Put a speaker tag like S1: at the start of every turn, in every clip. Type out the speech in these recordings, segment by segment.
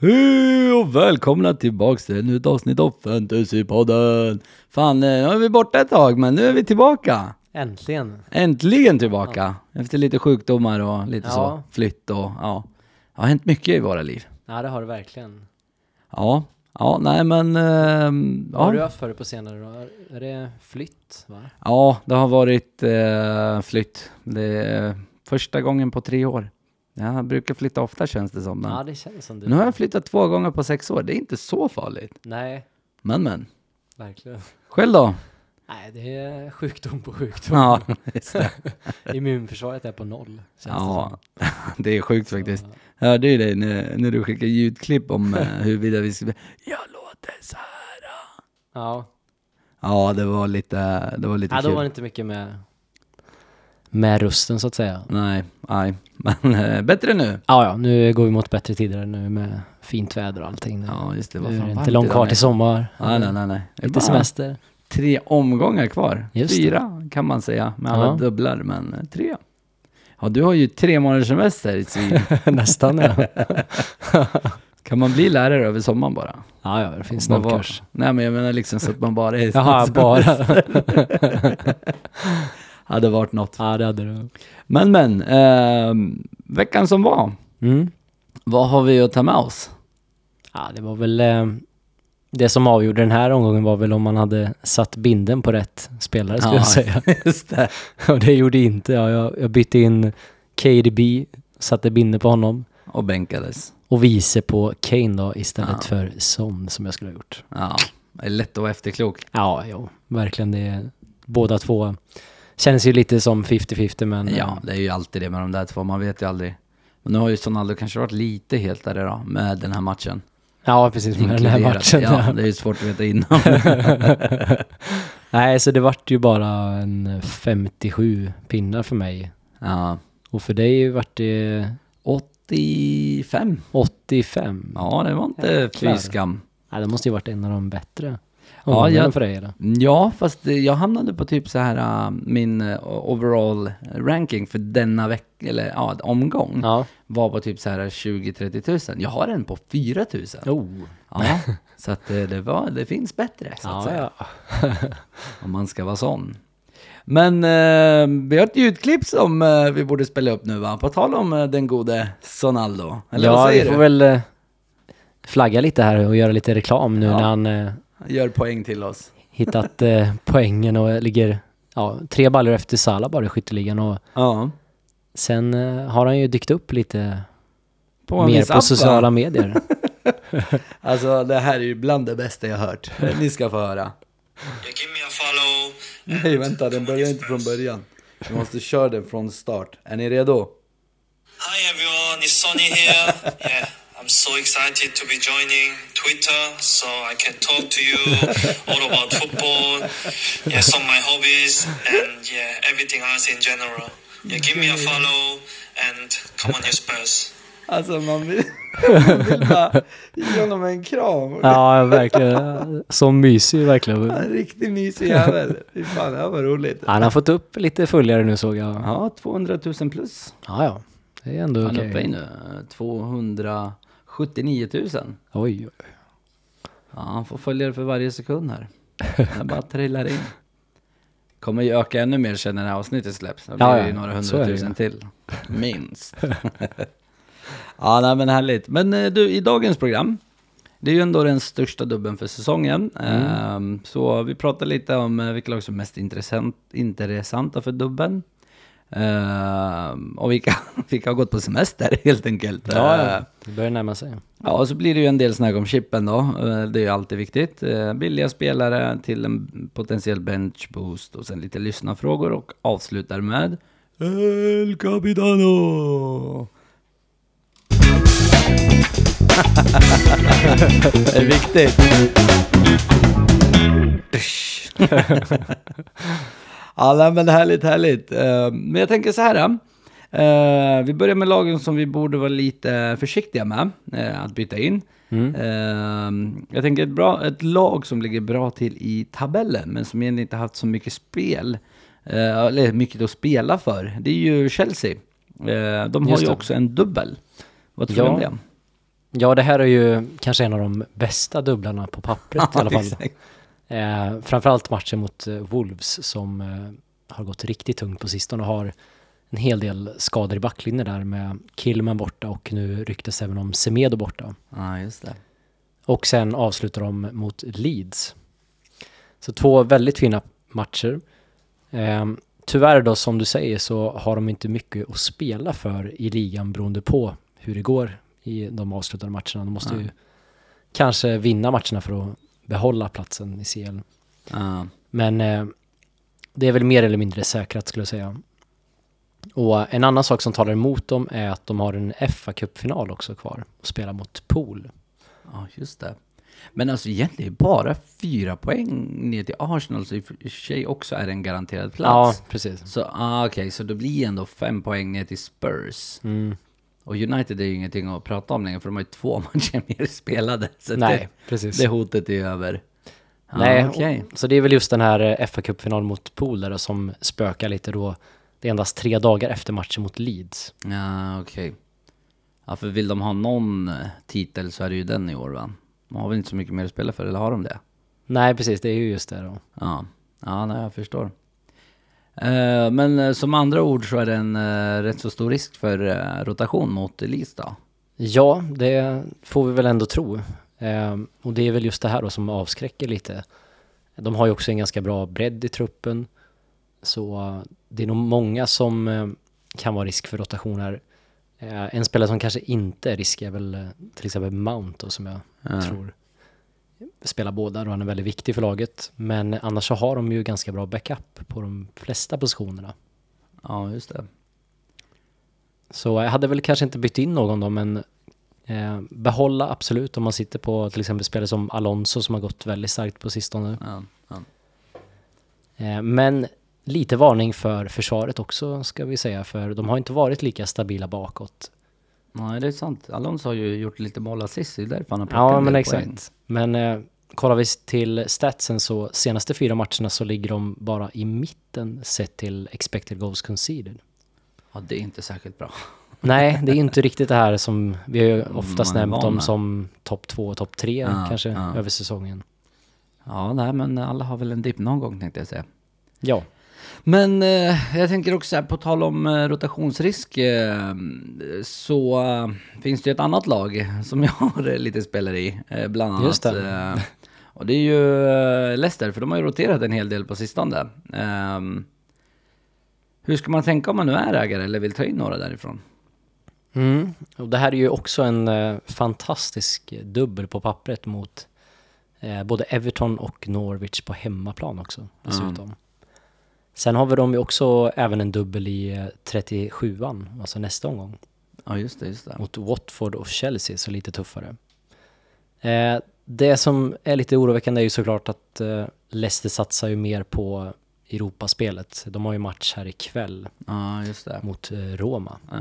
S1: Hej och välkomna tillbaks till ännu ett avsnitt av Fantasypodden! Fan, eh, nu är vi borta ett tag, men nu är vi tillbaka!
S2: Äntligen.
S1: Äntligen tillbaka! Efter lite sjukdomar och lite så,
S2: Ja.
S1: flytt och ja. Det har hänt mycket i våra liv.
S2: Ja, det har du verkligen.
S1: Ja, ja, nej men... ehm,
S2: Vad har du
S1: ja.
S2: haft för dig på senare då? Är- Är det flytt? Va?
S1: ja, det har varit eh, flytt. Det är första gången på tre år. Jag brukar flytta ofta känns det som.
S2: Ja,
S1: Men.
S2: det känns som du.
S1: Nu har jag flyttat två gånger på sex år. Det är inte så farligt.
S2: Nej,
S1: Men men.
S2: verkligen.
S1: Själv då?
S2: Nej, det är sjukdom på sjukdom.
S1: Ja, just det.
S2: Immunförsvaret är på noll. Känns
S1: Ja, det är sjukt
S2: det
S1: faktiskt.
S2: som.
S1: Jag hörde ju dig när, när du skickade ljudklipp om eh, huruvida vi skulle... Jag låter så här.
S2: Ja.
S1: Ja, det var lite, det var lite
S2: ja,
S1: kul.
S2: då var det inte mycket med, med rösten så att säga.
S1: Nej, nej. Men eh, bättre nu.
S2: Ja, ja, nu går vi mot bättre tider nu med fint väder och allting. Nu,
S1: Ja, just det. Vad
S2: nu är
S1: fan
S2: det
S1: varmt
S2: inte långt
S1: idag,
S2: kvar
S1: nej.
S2: till sommar.
S1: Nej, nej, nej. nej. Det är
S2: Lite
S1: bara
S2: semester.
S1: Tre omgångar kvar.
S2: Just det.
S1: Fyra kan man säga med alla
S2: Ja.
S1: dubblar, men eh, tre. Ja, du har ju tre månaders semester. ditt svin.
S2: Nästan ja.
S1: kan man bli lärare över sommaren bara?
S2: Ja, ja, det finns
S1: Vad
S2: någon
S1: var-
S2: kurs.
S1: Nej, men jag menar liksom så att man bara är...
S2: Jaha, bara.
S1: Hade varit något.
S2: ja, det hade du.
S1: Men men, ehm, veckan som var,
S2: Mm.
S1: vad har vi att ta med oss?
S2: Ja, det var väl... Eh, det som avgjorde den här omgången var väl om man hade satt binden på rätt spelare skulle
S1: Ja,
S2: jag säga.
S1: Just det.
S2: Och det gjorde inte jag. Jag, jag bytte in KDB, satte binden på honom
S1: Och bänkades.
S2: och vice på Kane då istället
S1: Ja.
S2: för Son som jag skulle ha gjort.
S1: Ja, det är lätt att vara efterklok.
S2: Ja, jo, verkligen det. Båda två känns ju lite som 50-50 men... eh,
S1: Ja, det är ju alltid det med de där två, man vet ju aldrig. Men nu har ju Sonaldo kanske varit lite hetare då, med den här matchen.
S2: ja precis. Med den här
S1: Inkluderat.
S2: matchen.
S1: Ja, det är ju svårt att veta innan.
S2: Nej, så det vart ju bara en 57 pinnar för mig.
S1: Ja,
S2: Och för dig vart det
S1: 85.
S2: 85. Ja.
S1: Ja, det var inte
S2: Jäklar.
S1: fy skam.
S2: det måste ju varit en av de bättre.
S1: Ja,
S2: Ja,
S1: jag-
S2: för dig eller?
S1: Ja, fast eh, jag hamnade på typ så här eh, min eh, overall ranking för denna vecka, eller ja, omgång.
S2: Ja.
S1: var på typ så här 20-30 tusen. Jag har en på 4 tusen.
S2: Oh.
S1: Ja, så att eh, det, var, det finns bättre, så att
S2: Ja,
S1: säga.
S2: ja.
S1: Om man ska vara sån. Men eh, vi har ett ljudklipp som eh, vi borde spela upp nu va? På tal om eh, den gode Sonaldo. Eller vad
S2: ja
S1: säger
S2: vi får
S1: du?
S2: väl eh, flagga lite här och göra lite reklam nu
S1: Ja.
S2: när han eh,
S1: Gör poäng till oss.
S2: hittat eh, poängen och ligger ja, tre baller efter Salah bara i skytteligan. Och
S1: Ja.
S2: sen eh, har han ju dykt upp lite
S1: På
S2: mer
S1: Miss
S2: på
S1: App, va?
S2: sociala medier.
S1: Alltså det här är ju bland det bästa jag hört. Ni ska få höra.
S3: Yeah, give me a follow.
S1: Nej vänta, den börjar inte från början. Vi måste köra den från start. Är ni redo?
S3: Hi everyone, it's Sonny here. Yeah, I'm so excited to be joining Twitter so I can talk to you all about football, yeah, some of my hobbies, and yeah, everything else in general. Yeah, give me a follow and come on your Spurs.
S1: Alltså man vill, man vill bara ge honom en kram.
S2: ja, verkligen. Så mysig verkligen.
S1: En riktigt mysig jävel. Fy fan, det här var roligt.
S2: Han har fått upp lite följare nu såg jag.
S1: Ja, 200 000 plus.
S2: Ja, ja. Det är ändå
S1: Han är
S2: okej.
S1: uppe i nu. eh, 279 000.
S2: Oj, oj.
S1: Ja, han får följare för varje sekund här. Den bara trillar in. Kommer ju öka ännu mer sen när det här avsnittet släpps. Då blir
S2: Ja,
S1: det ju
S2: ja.
S1: några
S2: Så är det ju.
S1: hundratusen till. Minst. ja, nej, men härligt. Men eh, du, i dagens program. Det är ju ändå den största dubben för säsongen.
S2: Mm.
S1: Ehm, så vi pratar lite om eh, vilka lag som är mest intressant, intressanta för dubben. Ehm, och vilka, vilka har gått på semester helt enkelt.
S2: Ja,
S1: Ehm,
S2: ja. Eh, Det börjar närma sig.
S1: Ja, och så blir det ju en del snack om chippen då. Eh, Det är ju alltid viktigt. Eh, Billiga spelare till en potentiell bench boost och sen lite lyssnarfrågor och avslutar med El Capitano! det är viktigt. ja, nej, men härligt, härligt. Eh, Men jag tänker så här. eh. Eh, Vi börjar med lagen som vi borde vara lite försiktiga med eh, att byta in.
S2: Mm.
S1: Eh, Jag tänker ett, bra, ett lag som ligger bra till i tabellen, men som egentligen inte haft så mycket spel, eh, eller mycket att spela för, det är ju Chelsea. Eh, De har
S2: Just
S1: ju
S2: det.
S1: också en dubbel. Vad tror du
S2: Ja.
S1: om det?
S2: Ja, det här är ju kanske en av de bästa dubblarna på pappret i alla fall.
S1: exakt.
S2: Eh, framförallt matchen mot eh, Wolves som eh, har gått riktigt tungt på sistone och har en hel del skador i backlinjen där med Kilman borta och nu ryktas även om Semedo borta.
S1: Ja, just det.
S2: Och sen avslutar de mot Leeds. Så två väldigt fina matcher. Eh, tyvärr då, som du säger, så har de inte mycket att spela för i ligan beroende på hur det går i de avslutande matcherna. De måste ju kanske vinna matcherna för att behålla platsen i CL.
S1: Ja.
S2: Men eh, det är väl mer eller mindre säkrat skulle jag säga. Och eh, en annan sak som talar emot dem är att de har en fa Cup-final också kvar och spelar mot Pool.
S1: Ja, just det. Men alltså egentligen är det bara fyra poäng ner till Arsenal, så i och för sig också är det en garanterad plats.
S2: Ja, precis.
S1: Så ah, okej, så då blir det ändå fem poäng ner till Spurs.
S2: Mm.
S1: Och United är ju ingenting att prata om längre, för de har ju två matcher mer spelade. Så
S2: Nej, precis.
S1: Det, det hotet är över. Ja,
S2: Nej,
S1: okej.
S2: och- så det är väl just den här eh, fa Cup-finalen mot Pool där då, som spökar lite då. Det är endast tre dagar efter matchen mot Leeds.
S1: Ja, okej. Ja, för vill de ha någon eh, titel så är det ju den i år va? De har väl inte så mycket mer att spela för, eller har de det?
S2: Nej, precis, det är ju just det då.
S1: Ja, ja nej, jag förstår. Eh, men eh, som andra ord så är det en eh, rätt så stor risk för eh, rotation mot Elise då?
S2: Ja, det får vi väl ändå tro. Eh, och det är väl just det här då som avskräcker lite. De har ju också en ganska bra bredd i truppen. Så eh, det är nog många som eh, kan vara risk för rotationer. Eh, en spelare som kanske inte är risk är väl eh, till exempel Mount då, som jag
S1: Eh,
S2: tror spelar båda då han är väldigt viktig för laget. Men annars så har de ju ganska bra backup på de flesta positionerna.
S1: Ja, just det.
S2: Så jag hade väl kanske inte bytt in någon då, men eh, behålla absolut om man sitter på till exempel spelare som Alonso som har gått väldigt starkt på sistone.
S1: Ja, ja.
S2: Eh, men lite varning för försvaret också ska vi säga, för de har inte varit lika stabila bakåt.
S1: Nej, det är sant. Alonso har ju gjort lite mål assist, det är därför han har plockat
S2: Ja,
S1: en
S2: men
S1: del
S2: exakt.
S1: poäng.
S2: Men eh, kollar vi till statsen så senaste fyra matcherna så ligger de bara i mitten sett till expected goals conceded.
S1: Ja, det är inte särskilt bra.
S2: Nej, det är ju inte riktigt det här som vi har ju oftast
S1: Mm, man är van
S2: nämnt dem
S1: med.
S2: som topp två och topp tre
S1: Ja,
S2: kanske
S1: ja.
S2: över säsongen.
S1: Ja, nej, men alla har väl en dipp någon gång tänkte jag säga.
S2: Ja,
S1: Men eh, jag tänker också så här, på tal om eh, rotationsrisk eh, så eh, finns det ju ett annat lag som jag har eh, lite spelare i, eh, bland annat.
S2: Just det.
S1: Eh, och det är ju eh, Leicester, för de har ju roterat en hel del på sistone. Eh, hur ska man tänka om man nu är ägare eller vill ta in några därifrån?
S2: mm. och det här är ju också en eh, fantastisk dubbel på pappret mot eh, både Everton och Norwich på hemmaplan också dessutom. Sen har vi dem ju också även en dubbel i eh, 37an, alltså nästa omgång,
S1: Ja, just det, just det.
S2: mot Watford och Chelsea, så lite tuffare. Eh, det som är lite oroväckande är ju såklart att eh, Leicester satsar ju mer på Europaspelet. De har ju match här ikväll
S1: Ja, just det.
S2: mot eh, Roma.
S1: Ja.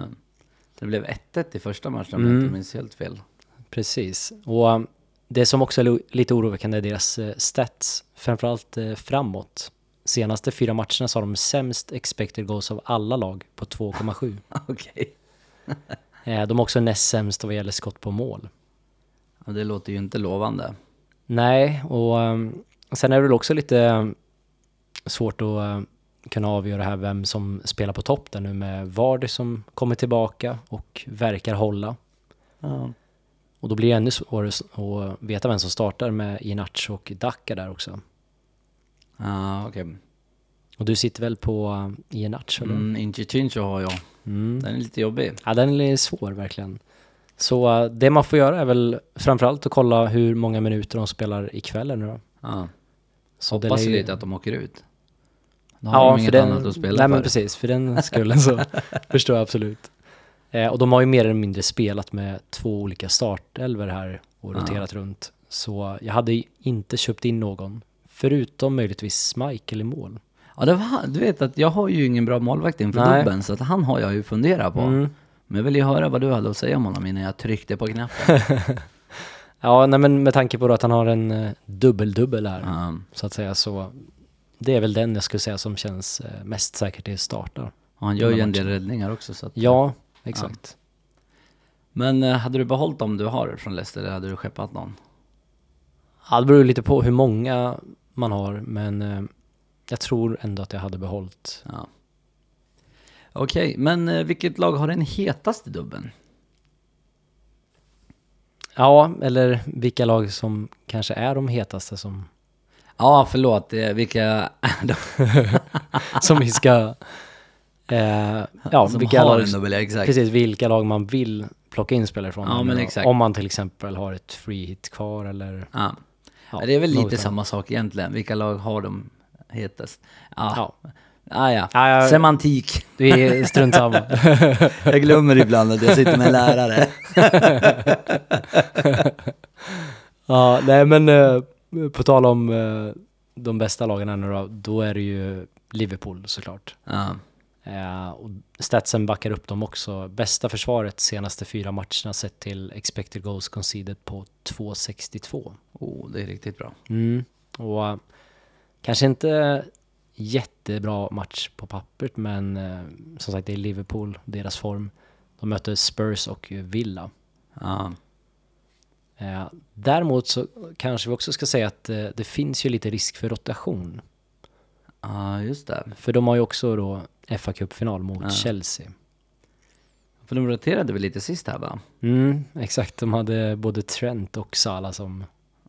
S1: Det blev 1-1 i första matchen om
S2: Mm.
S1: jag inte minns helt fel.
S2: Precis. Och um, det som också är lo- lite oroväckande är deras eh, stats, framförallt eh, framåt. Senaste fyra matcherna så har de sämst expected goals av alla lag på 2,7.
S1: Okej.
S2: Eh, de är också näst sämst vad gäller skott på mål.
S1: Ja, det låter ju inte lovande.
S2: Nej, och um, sen är det väl också lite um, svårt att eh, kunna avgöra här vem som spelar på topp där nu med Vardy som kommer tillbaka och verkar hålla.
S1: Ja.
S2: Och då blir det ännu svårare s- att veta vem som startar med Inacho och Dacca där också.
S1: Ja, okej.
S2: Och du sitter väl på eh, i en natch eller? Mm.
S1: Mm, Incichincho har jag. Den är lite jobbig.
S2: Ja, den är svår verkligen. Så eh, det man får göra är väl framförallt att kolla hur många minuter de spelar ikväll eller nu då.
S1: Ja.
S2: Så den
S1: Hoppas
S2: är
S1: ju
S2: ju-
S1: lite att de åker ut. Då har de
S2: för
S1: inget
S2: den-
S1: annat att spela
S2: Nej men
S1: för.
S2: precis, för den skullen så förstår jag absolut. Eh, och de har ju mer eller mindre spelat med två olika startelver här och
S1: Ja.
S2: roterat runt. Så jag hade ju inte köpt in någon, förutom möjligtvis Michael i mål.
S1: Ja, det var, du vet att jag har ju ingen bra målvakt inför
S2: Nej.
S1: dubben, så att han har jag ju funderat på.
S2: Mm.
S1: Men jag ville ju höra vad du hade att säga om honom innan jag tryckte på knappen.
S2: Ja, nej men med tanke på då att han har en eh, dubbel-dubbel här.
S1: Ja.
S2: så att säga. Så det är väl den jag skulle säga som känns eh, mest säker till startar.
S1: Och han gör ju en del räddningar också. Så att,
S2: Ja, exakt.
S1: Men eh, hade du behållit dem du har från Leicester eller hade du skeppat någon?
S2: Ja, det beror lite på hur många man har, men eh, jag tror ändå att jag hade behållit.
S1: Ja. Okej, men eh, vilket lag har den hetaste dubben?
S2: Ja, eller vilka lag som kanske är de hetaste som,
S1: Ja, förlåt, eh, vilka är de
S2: som vi ska... Eh, ja,
S1: som
S2: vilka
S1: har
S2: lag,
S1: en dubbel? Ja, Exakt.
S2: precis, vilka lag man vill plocka in spelare från.
S1: Ja,
S2: Jag
S1: men
S2: menar,
S1: exakt.
S2: Om man till exempel har ett free hit kvar eller...
S1: Ja.
S2: Ja,
S1: det är väl lite
S2: något annat.
S1: samma sak egentligen. Vilka lag har de hetast? Ja, ja.
S2: Ja.
S1: Ah, ja.
S2: Ja, jag-
S1: Semantik.
S2: Det är strunt samma.
S1: Jag glömmer ibland att jag sitter med en lärare.
S2: Ja, nej men eh, på tal om eh, de bästa lagen här nu då, då är det ju Liverpool såklart.
S1: Ja.
S2: Eh, och statsen backar upp dem också. Bästa försvaret senaste fyra matcherna sett till expected goals conceded på 2,62.
S1: Oh, det är riktigt bra.
S2: Mm. Och eh, kanske inte jättebra match på pappret men eh, som sagt det är Liverpool, deras form. De möter Spurs och Villa.
S1: Ja.
S2: Eh, Däremot så kanske vi också ska säga att eh, det finns ju lite risk för rotation.
S1: Ja, just det.
S2: För de har ju också då fa Cup-final mot
S1: Ja.
S2: Chelsea.
S1: För de roterade väl lite sist här va?
S2: Mm, exakt, de hade både Trent och Salah som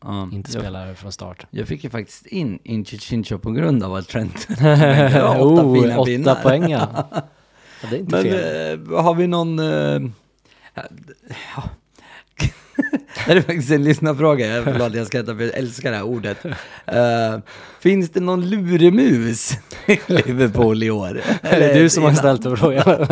S1: Ja.
S2: inte
S1: jag,
S2: spelar från start.
S1: jag fick ju faktiskt in Inchi Chincho på grund av att Trent Det var åtta
S2: Oh,
S1: fina
S2: åtta
S1: pinnar.
S2: poäng ja. ja. Det är inte
S1: Men
S2: fel.
S1: eh, har vi någon... Eh, ja. det är faktiskt en lyssnarfråga. Jag- Förlåt, jag skrattar för jag älskar det här ordet. Eh, finns det någon luremus i Liverpool i år?
S2: det är du som har ställt den frågan.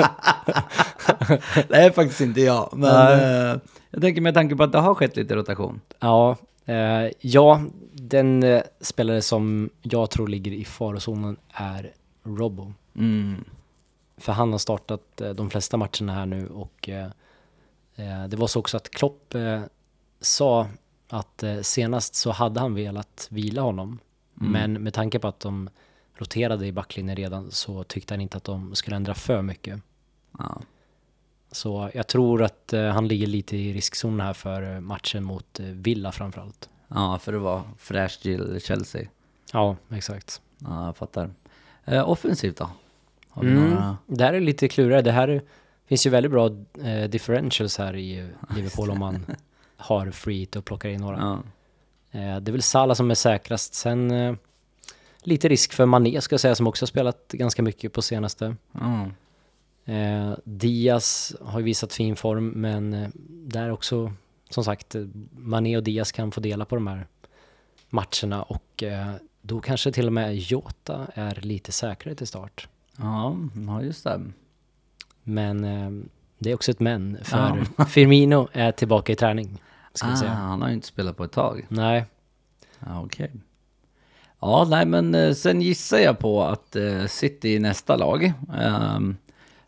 S1: Nej, faktiskt inte jag. Men eh, jag tänker med tanke på att det har skett lite rotation.
S2: Ja, eh, ja den eh, spelare som jag tror ligger i farozonen är Robbo.
S1: Mm.
S2: För han har startat eh, de flesta matcherna här nu och eh, eh, det var så också att Klopp eh, sa att eh, senast så hade han velat vila honom. Men med tanke på att de roterade i backlinjen redan så tyckte han inte att de skulle ändra för mycket.
S1: Ja.
S2: Så jag tror att eh, han ligger lite i riskzonen här för eh, matchen mot eh, Villa framförallt.
S1: ja, för att vara fräsch till Chelsea.
S2: Ja, exakt.
S1: Ja, jag fattar. Eh, offensivt då? Har vi
S2: Mm.
S1: några...
S2: Det här är lite klurigare. Det här är, finns ju väldigt bra eh, differentials här i Liverpool om man har free hit och plockar in några.
S1: Ja.
S2: Eh, det är väl Salah som är säkrast. Sen eh, lite risk för Mané ska jag säga som också har spelat ganska mycket på senaste.
S1: Ja.
S2: Eh, Diaz har ju visat fin form men eh, där också som sagt eh, Mané och Diaz kan få dela på de här matcherna och eh, då kanske till och med Jota är lite säkrare till start.
S1: Ja, ja, just det.
S2: Men eh, det är också ett men, för Firmino är tillbaka i träning. Ska vi
S1: ah,
S2: säga.
S1: Han har ju inte spelat på ett tag.
S2: Nej,
S1: Ja, Okej. Ja, nej men eh, sen gissar jag på att eh, City är nästa lag. Um,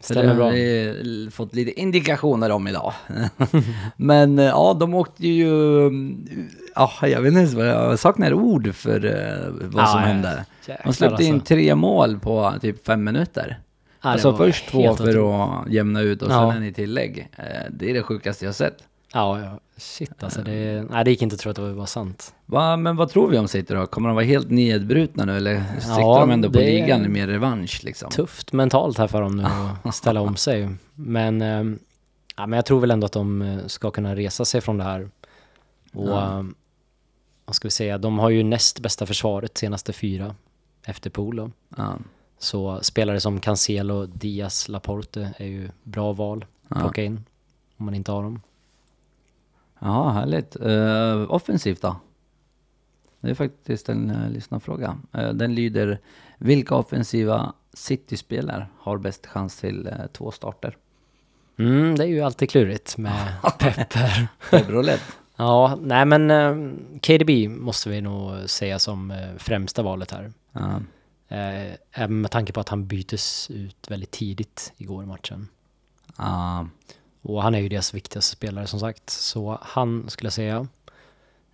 S2: Stämmer
S1: det har
S2: bra.
S1: vi eh, fått lite indikationer om idag. men eh, ja, de åkte ju... mm, Ja, jag vet inte ens vad jag saknar ord för eh, vad
S2: Ja,
S1: som
S2: Ah, ja.
S1: hände.
S2: Jäklar,
S1: De släppte in
S2: alltså. Ah,
S1: tre mål på typ fem minuter.
S2: det
S1: alltså
S2: var
S1: först två
S2: helt
S1: för att jämna ut och
S2: Ja.
S1: sen en i tillägg. Eh, det är det sjukaste jag sett.
S2: ja, ja. shit alltså. Det, nej, det gick inte att tro att det var sant.
S1: Va, men vad tror vi om City då? Kommer de vara helt nedbrutna nu eller siktar
S2: Ja,
S1: de ändå på
S2: det-
S1: ligan i mer revansch liksom?
S2: Tufft mentalt här för dem nu att ställa om sig. Men, eh, ja, men jag tror väl ändå att de eh, ska kunna resa sig från det här. Och eh, vad ska vi säga, de har ju näst bästa försvaret senaste fyra efter Polo.
S1: Ja.
S2: Så spelare som Cancelo, Diaz, Laporte är ju bra val att plocka in. Om man inte har dem.
S1: ja, härligt. Eh, offensivt då? Det är faktiskt en uh, lyssnarfråga. Eh, den lyder, vilka offensiva City-spelare har bäst chans till eh, två starter?
S2: Mm, det är ju alltid klurigt med Pepper.
S1: Det är bra lätt.
S2: Ja, nej men eh, KDB måste vi nog säga som eh, främsta valet här.
S1: Ja.
S2: Eh, Även med tanke på att han byttes ut väldigt tidigt igår i matchen.
S1: Ja.
S2: Och han är ju deras viktigaste spelare som sagt. Så han skulle jag säga.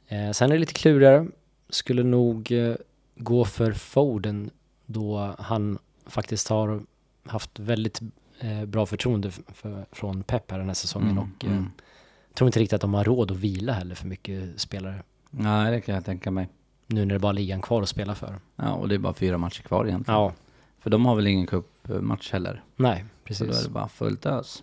S2: Eh, sen är det lite klurigare. Skulle nog eh, gå för Foden då han faktiskt har haft väldigt eh, bra förtroende f- för, från Pep här den här säsongen
S1: Mm,
S2: och eh, tror inte riktigt att de har råd att vila heller för mycket spelare.
S1: Nej, det kan jag tänka mig.
S2: Nu när det bara är ligan kvar att spela för.
S1: Ja, och det är bara fyra matcher kvar egentligen.
S2: Ja,
S1: För de har väl ingen cupmatch heller.
S2: nej,
S1: Så då är
S2: precis.
S1: det bara fullt ös.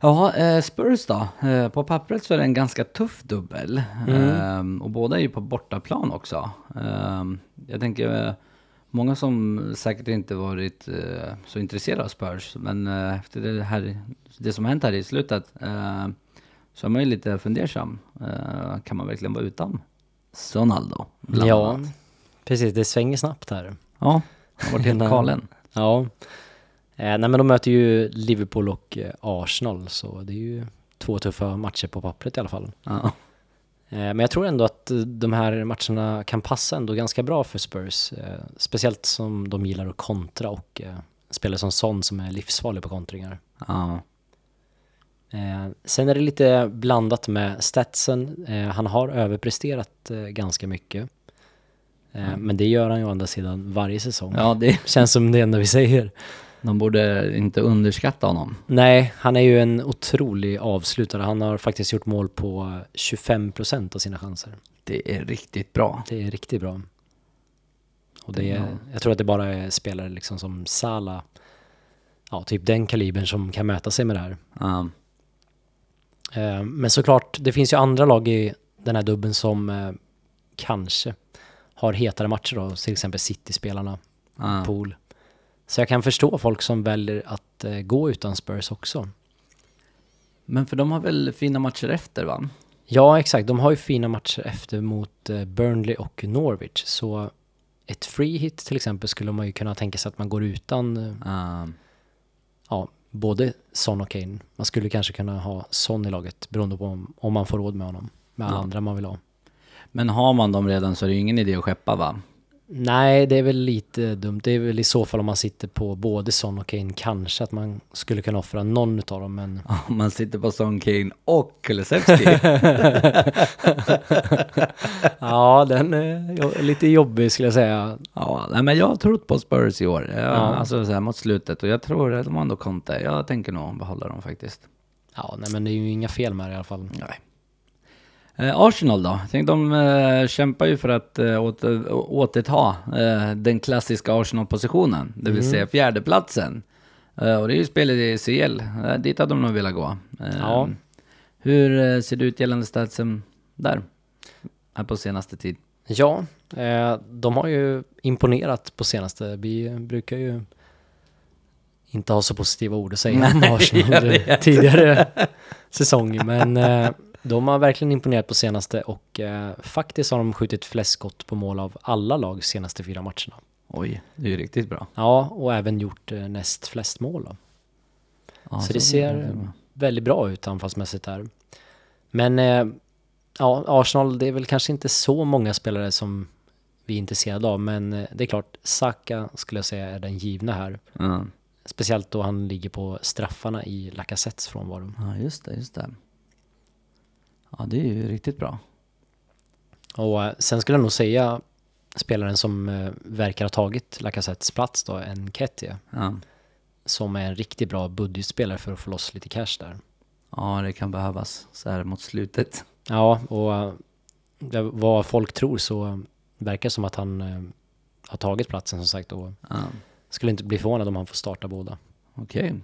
S1: Jaha, eh, Spurs då? Eh, På pappret så är det en ganska tuff dubbel.
S2: Mm.
S1: Ehm, Och båda är ju på bortaplan också. Ehm, Jag tänker, eh, många som säkert inte varit eh, så intresserade av Spurs, men eh, efter det, här, det som hänt här i slutet eh, så är man ju lite fundersam. Eh, Kan man verkligen vara utan Sonaldo? bland
S2: Ja,
S1: annat?
S2: precis. Det svänger snabbt här.
S1: Ja, han har varit helt galen.
S2: Ja. Eh, nej men de möter ju Liverpool och eh, Arsenal så det är ju två tuffa matcher på pappret i alla fall.
S1: Ja.
S2: Eh, men jag tror ändå att eh, de här matcherna kan passa ändå ganska bra för Spurs. Eh, speciellt som de gillar att kontra och eh, spelare som Son som är livsfarlig på kontringar.
S1: Ja.
S2: Eh, sen är det lite blandat med statsen. Eh, han har överpresterat eh, ganska mycket. Eh, Men det gör han ju å andra sidan varje säsong.
S1: ja, det
S2: Känns som det enda vi säger.
S1: De borde inte underskatta honom.
S2: Nej, han är ju en otrolig avslutare. Han har faktiskt gjort mål på 25% av sina chanser.
S1: Det är riktigt bra.
S2: Det är riktigt bra. Och det är, jag tror att det bara är spelare liksom som Sala, ja, typ den kalibern som kan mäta sig med det här.
S1: Ja.
S2: Eh, Men såklart, det finns ju andra lag i den här dubben som eh, kanske har hetare matcher då, till exempel City-spelarna,
S1: Ja.
S2: Pool. Så jag kan förstå folk som väljer att eh, gå utan Spurs också.
S1: Men för de har väl fina matcher efter va?
S2: Ja, exakt. De har ju fina matcher efter mot eh, Burnley och Norwich. Så ett free hit till exempel skulle man ju kunna tänka sig att man går utan eh,
S1: Ja.
S2: ja, både Son och Kane. Man skulle kanske kunna ha Son i laget beroende på om, om man får råd med honom. Med alla andra man vill ha.
S1: Men har man dem redan så är det ju ingen idé att skeppa va?
S2: Nej, det är väl lite dumt. Det är väl i så fall om man sitter på både Son och Kane kanske att man skulle kunna offra någon av dem. Men
S1: Om man sitter på Son Kane och Kulusevski.
S2: ja, den är jo- lite jobbig skulle jag säga.
S1: ja, nej, men jag har trott på Spurs i år. Ja, Alltså så här mot slutet. Och jag tror att de har ändå Conte. Jag tänker nog behålla dem faktiskt.
S2: Ja, nej, men det är ju inga fel med det i alla fall.
S1: Nej. Eh, Arsenal då? Tänk, de eh, kämpar ju för att eh, åter, å- återta eh, den klassiska Arsenal-positionen, det
S2: Mm.
S1: vill säga fjärdeplatsen. Eh, och det är ju spelet i CL, eh, dit hade de nog velat gå. Eh,
S2: Ja.
S1: Hur eh, ser det ut gällande statsen där? Här på senaste tid.
S2: Ja, eh, de har ju imponerat på senaste. Vi brukar ju inte ha så positiva ord att säga om Arsenal tidigare säsong. Men eh, de har verkligen imponerat på senaste och eh, faktiskt har de skjutit flest skott på mål av alla lag senaste fyra matcherna.
S1: Oj, det är ju riktigt bra.
S2: Ja, och även gjort eh, näst flest mål. Då.
S1: Ja,
S2: Så det ser väldigt bra ut anfallsmässigt här. Men eh, ja, Arsenal, det är väl kanske inte så många spelare som vi är intresserade av, men eh, det är klart, Saka skulle jag säga är den givna här.
S1: Ja.
S2: Speciellt då han ligger på straffarna i Lacazettes frånvaro.
S1: ja, just det, just det. Ja, det är ju riktigt bra.
S2: Och eh, sen skulle jag nog säga spelaren som eh, verkar ha tagit Lacazettes plats då, en Kettie,
S1: Ja,
S2: som är en riktigt bra budgetspelare för att få loss lite cash där.
S1: ja det kan behövas så här mot slutet.
S2: Ja, och eh, det- vad folk tror så verkar det som att han eh, har tagit platsen som sagt och
S1: Ja.
S2: skulle inte bli förvånad om han får starta båda.
S1: Okej.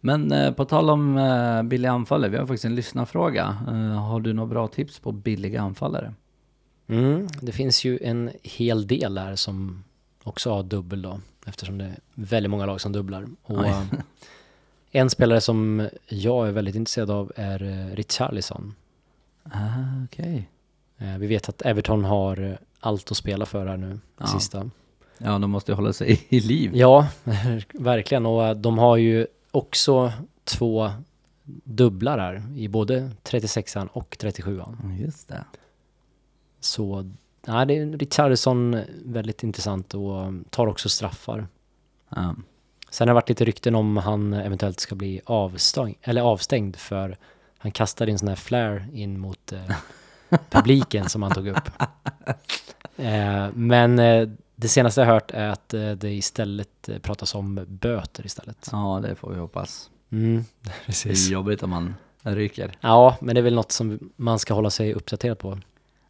S1: Men eh, på tal om eh, billiga anfallare, vi har faktiskt en lyssnarfråga. Eh, har du några bra tips på billiga anfallare?
S2: Mm, det finns ju en hel del här som också har dubbel då, eftersom det är väldigt många lag som dubblar. Och, eh, en spelare som jag är väldigt intresserad av är eh, Richarlison.
S1: Ah, Okej.
S2: Eh, Vi vet att Everton har eh, allt att spela för här nu,
S1: Ja.
S2: sista.
S1: Ja, de måste ju hålla sig i liv.
S2: Ja, verkligen. Och eh, de har ju också två dubblar här i både 36an och 37an.
S1: Just det.
S2: Så nej, det är Richarlison väldigt intressant och eh, tar också straffar.
S1: Ja.
S2: Sen har det varit lite rykten om han eventuellt ska bli avstängd, eller avstängd för han kastade en sån här flare in mot eh, publiken som han tog upp. Eh, men eh, Det senaste jag hört är att eh, det istället eh, pratas om böter istället.
S1: Ja, det får vi hoppas.
S2: Mm,
S1: Det
S2: precis.
S1: är jobbigt om man ryker.
S2: Ja, men det är väl något som man ska hålla sig uppdaterad på.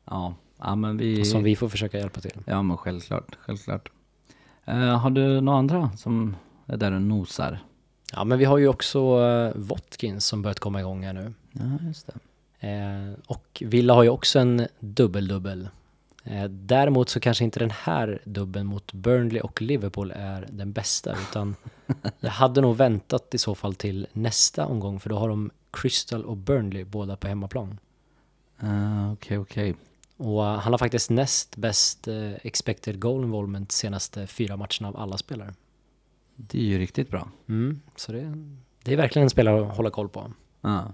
S1: Ja, ja men vi...
S2: Och som vi får försöka hjälpa till.
S1: Ja, men självklart. Självklart. Eh, har du några andra som är där och nosar?
S2: Ja, men vi har ju också eh, Watkins som börjat komma igång här nu.
S1: Ja, just det.
S2: Eh, och Villa har ju också en dubbel-dubbel. Eh, däremot så kanske inte den här dubbeln mot Burnley och Liverpool är den bästa, utan jag hade nog väntat i så fall till nästa omgång, för då har de Crystal och Burnley båda på hemmaplan.
S1: Eh, Okej, okej.
S2: Och eh, han har faktiskt näst bäst eh, expected goal involvement senaste fyra matcherna av alla spelare.
S1: Det är ju riktigt bra.
S2: Mm, så det, det är verkligen en spelare att hålla koll på.
S1: Ja.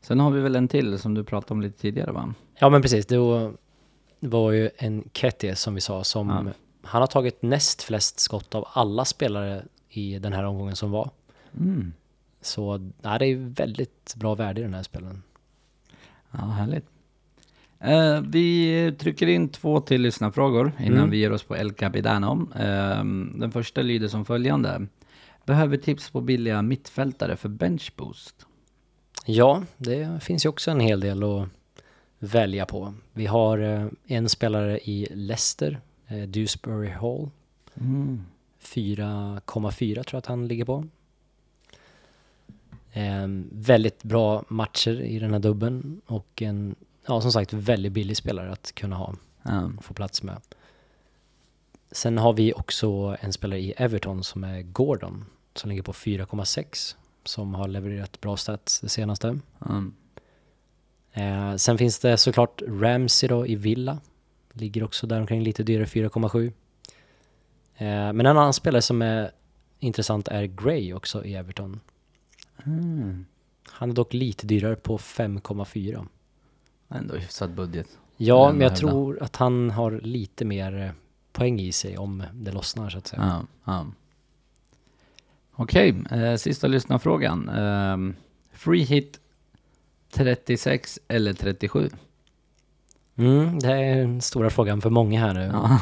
S1: Sen har vi väl en till som du pratade om lite tidigare va?
S2: Ja men precis, det var, det var ju en Kettie som vi sa som han har tagit näst flest skott av alla spelare i den här omgången som var.
S1: Mm.
S2: Så ja, det är väldigt bra värde i den här spelaren.
S1: Ja, härligt. Eh, vi trycker in två till lyssnarfrågor innan vi ger oss på El Capitano. Eh, den första lyder som följande. Behöver tips på billiga mittfältare för benchboost?
S2: Ja, det finns ju också en hel del att välja på. Vi har eh, en spelare i Leicester, eh, Dewsbury Hall.
S1: Mm.
S2: 4,4 tror jag att han ligger på. Ehm, väldigt bra matcher i den här dubben och en, ja som sagt, väldigt billig spelare att kunna ha
S1: Ja.
S2: och få plats med. Sen har vi också en spelare i Everton som är Gordon som ligger på 4,6 som har levererat bra stats det senaste.
S1: ja.
S2: Eh, sen finns det såklart Ramsey då i Villa. Ligger också där omkring lite dyrare, 4,7. Eh, men en annan spelare som är intressant är Gray också i Everton.
S1: Mm.
S2: Han är dock lite dyrare på 5,4.
S1: Ändå hyfsad budget.
S2: Ja,
S1: Den
S2: men jag
S1: hävdar.
S2: tror att han har lite mer eh, poäng i sig om det lossnar så att säga.
S1: Ja, ja. Ehm, Okej, eh, sista lyssnarfrågan. Eh, free hit 36 eller 37?
S2: Mm, det är den stora frågan för många här nu.
S1: Ja.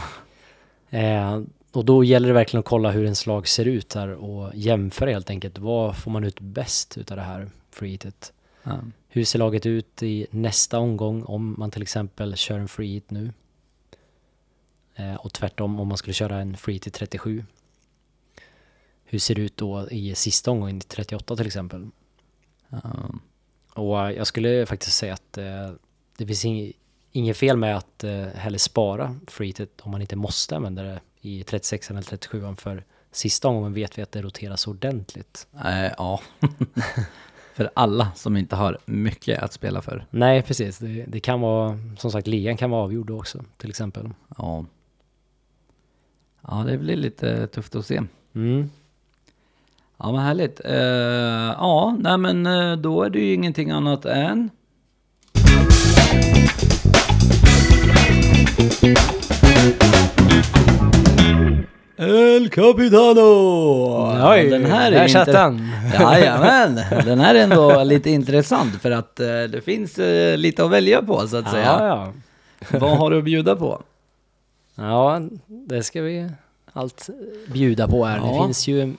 S2: Eh, och då gäller det verkligen att kolla hur ens lag ser ut här och jämföra helt enkelt. Vad får man ut bäst utav det här free hitet?
S1: Ja. Ehm,
S2: Hur ser laget ut i nästa omgång om man till exempel kör en free hit nu? Eh, och tvärtom om man skulle köra en free hit i 37. Hur ser det ut då i sista omgången i 38 till exempel?
S1: Ja.
S2: Och eh, jag skulle faktiskt säga att eh, det finns ing, inget fel med att eh, heller spara freehitet om man inte måste använda det i 36 eller 37 för sista omgången vet vi att det roteras ordentligt.
S1: Eh, ja. för alla som inte har mycket att spela för.
S2: Nej, precis. Det, det kan vara, som sagt, ligan kan vara avgjord då också, till exempel.
S1: Ja. Ja, det blir lite tufft att se.
S2: Mm.
S1: Ja, vad härligt. Eh, ja, nej men eh, då är det ju ingenting annat än... El Capitano!
S2: Oj,
S1: den här
S2: där
S1: är
S2: satt han.
S1: Jajamän, den här är ändå lite intressant för att eh, det finns eh, lite att välja på så att
S2: Ja,
S1: säga.
S2: ja.
S1: Vad har du att bjuda på?
S2: ja, det ska vi allt bjuda på här. Det
S1: Ja.
S2: finns ju en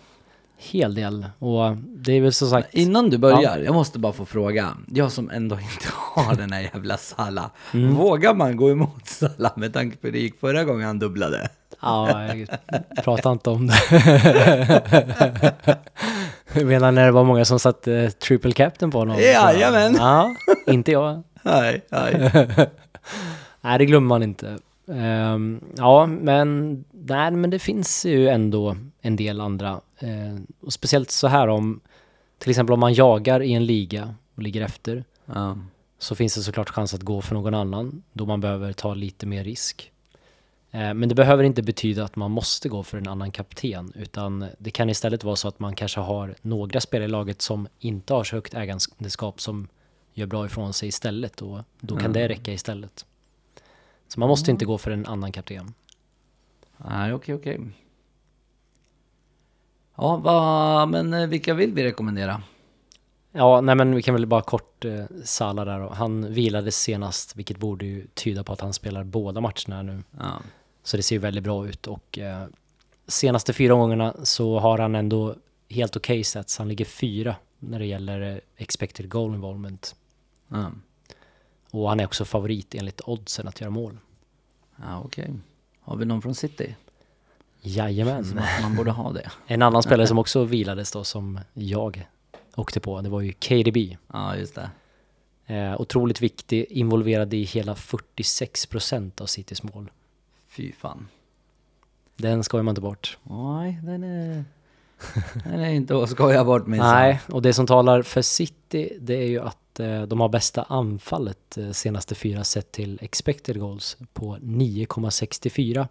S2: hel del och det är väl som sagt...
S1: Innan du börjar, jag måste bara få fråga. Jag som ändå inte har den här jävla Salla. Vågar man gå emot Salla med tanke på hur det gick förra gången han dubblade?
S2: Ja, jag pratar inte om det. Jag menar när det var många som satt eh, triple captain på honom.
S1: Jajamän.
S2: Ja, inte jag.
S1: Nej, nej.
S2: Nej, det glömmer man inte. Ehm, ja, men, nej, men det finns ju ändå en del andra. Ehm, och speciellt så här om, till exempel om man jagar i en liga och ligger efter,
S1: Ja,
S2: så finns det såklart chans att gå för någon annan, då man behöver ta lite mer risk. Eh, Men det behöver inte betyda att man måste gå för en annan kapten, utan det kan istället vara så att man kanske har några spelare i laget som inte har så högt ägandeskap som gör bra ifrån sig istället och då kan det räcka istället. Så man måste inte gå för en annan kapten.
S1: nej okej, okej. Ja, va, men eh, vilka vill vi rekommendera?
S2: Ja, nej men vi kan väl bara kort eh, Salah där då. Han vilade senast, vilket borde ju tyda på att han spelar båda matcherna nu.
S1: Ja,
S2: Så det ser ju väldigt bra ut och eh, senaste fyra gångerna så har han ändå helt okej stats. Han ligger fyra när det gäller eh, expected goal involvement.
S1: Ja,
S2: Och han är också favorit enligt oddsen att göra mål.
S1: ah, okej. Har vi någon från City?
S2: Jajamän.
S1: Som att man borde ha det.
S2: En annan spelare som också vilades då som jag åkte på, det var ju KDB.
S1: Ja, just det.
S2: Eh, otroligt viktig, involverad i hela 46% av Citys mål.
S1: Fy fan.
S2: Den skojar man inte bort.
S1: Nej, den är... Den är inte att skoja bort minsann.
S2: Nej, och det som talar för City det är ju att eh, de har bästa anfallet eh, senaste fyra sett till expected goals på 9,64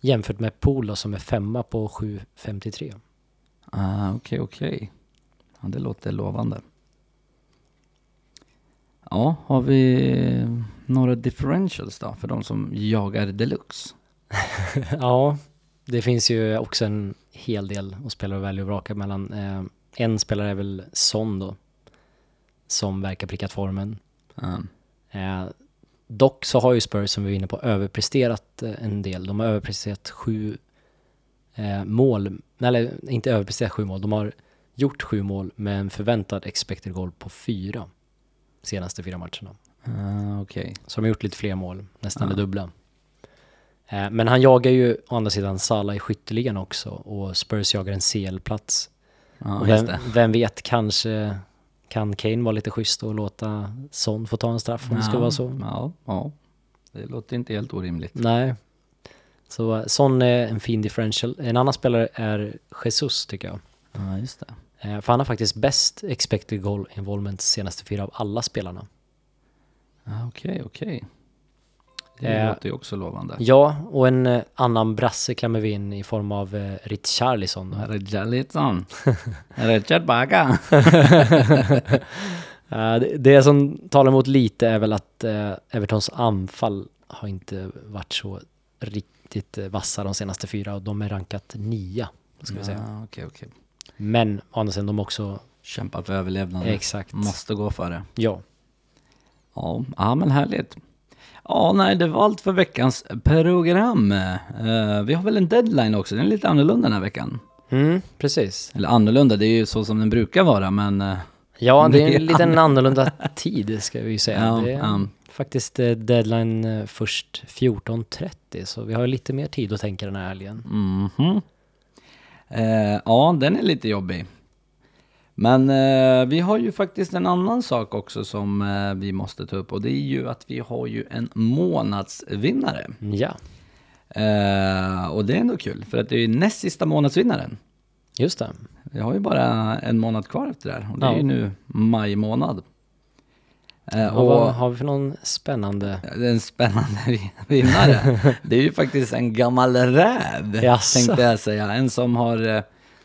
S2: jämfört med Polo som är femma på 7,53.
S1: Ah, okej, okej. Ja, det låter lovande. Ja, har vi eh, några differentials då för de som jagar deluxe?
S2: Ja, det finns ju också en hel del att spela och välja och vraka mellan. Eh, En spelare är väl Son då, som verkar prickat formen.
S1: Ja,
S2: Eh, Dock så har ju Spurs, som vi var inne på, överpresterat eh, en del. De har överpresterat sju eh, mål, Nej, eller inte överpresterat sju mål, de har gjort sju mål med en förväntad expected goal på fyra senaste fyra matcherna.
S1: ah, okej.
S2: Så de har gjort lite fler mål, nästan
S1: Ja.
S2: det dubbla. Eh, Men han jagar ju å andra sidan Salah i skytteligan också och Spurs jagar en CL-plats.
S1: Ja,
S2: Och
S1: just
S2: vem,
S1: det.
S2: vem vet, kanske kan Kane vara lite schysst och låta Son få ta en straff om det ska
S1: Ja,
S2: vara så.
S1: Ja, ja. Det låter inte helt orimligt.
S2: Nej. Så eh, Son är en fin differential. En annan spelare är Jesus tycker jag.
S1: Ja, just det.
S2: Eh, För han har faktiskt bäst expected goal involvement senaste fyra av alla spelarna.
S1: Ah, Okej, okej. Det
S2: Eh,
S1: låter ju också lovande.
S2: Ja, och en eh, annan brasse klämmer vi in i form av eh, Richarlison. då.
S1: Richarlison. Richard Baga.
S2: Eh, det- Det som talar emot lite är väl att eh, Evertons anfall har inte varit så riktigt eh, vassa de senaste fyra och de är rankat nia. Ska vi säga.
S1: Ja, Okej, okej.
S2: Men å andra sidan, de också...
S1: Kämpa för överlevnaden.
S2: Exakt.
S1: Måste gå för det.
S2: Ja.
S1: Ja, ja men härligt. Ja, nej, det var allt för veckans program. Eh, vi har väl en deadline också, den är lite annorlunda den här veckan.
S2: Mm, precis.
S1: Eller annorlunda, det är ju så som den brukar vara, men eh,
S2: Ja, det är
S1: Det är
S2: en liten annorlunda tid ska vi ju säga.
S1: Ja,
S2: det är
S1: ja.
S2: faktiskt eh, deadline eh, först 14.30 så vi har lite mer tid att tänka den här helgen.
S1: mhm. Eh, ja, den är lite jobbig. Men eh, vi har ju faktiskt en annan sak också som eh, vi måste ta upp och det är ju att vi har ju en månadsvinnare.
S2: Ja,
S1: Eh, och det är ändå kul, för att det är ju näst sista månadsvinnaren.
S2: just det.
S1: Jag har ju bara en månad kvar efter det här och det är ju
S2: Ja.
S1: nu maj månad. Eh,
S2: Och vad
S1: och
S2: har vi för någon spännande...
S1: det är en spännande vin- vinnare. Det är ju faktiskt en gammal räv,
S2: Jaså?
S1: tänkte jag säga. En som har eh,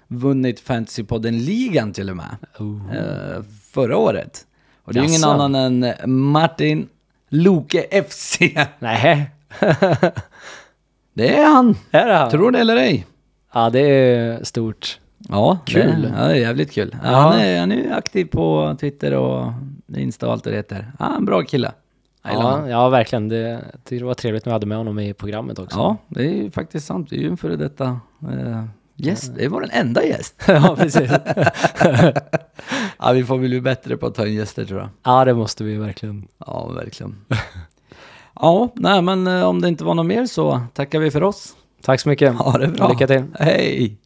S1: vunnit Fantasypodden-ligan till och med,
S2: Oh.
S1: eh, förra året. Och det är ju ingen
S2: Jaså?
S1: annan än Martin Loke FC.
S2: Nej,
S1: Det är han,
S2: är det han?
S1: tror det eller ej.
S2: Ja, det är stort.
S1: Ja,
S2: Kul.
S1: Det, ja, det är jävligt kul.
S2: Ja.
S1: Han, är, han är ju aktiv på Twitter och Insta och allt vad det heter. Ja, en bra kille. Jag gillar honom.
S2: Ja, ja, verkligen. Det, jag tyckte det var trevligt när vi hade med honom i programmet också.
S1: ja, det är ju faktiskt sant. Det är ju en före detta eh, gäst. Det var den enda gäst.
S2: ja precis.
S1: Ja, vi får väl bli bättre på att ta in gäster tror jag.
S2: Ja, det måste vi verkligen.
S1: Ja, verkligen. Ja, nej men eh, om det inte var något mer så tackar vi för oss.
S2: Tack så mycket.
S1: Ha det bra.
S2: Lycka till.
S1: Hej!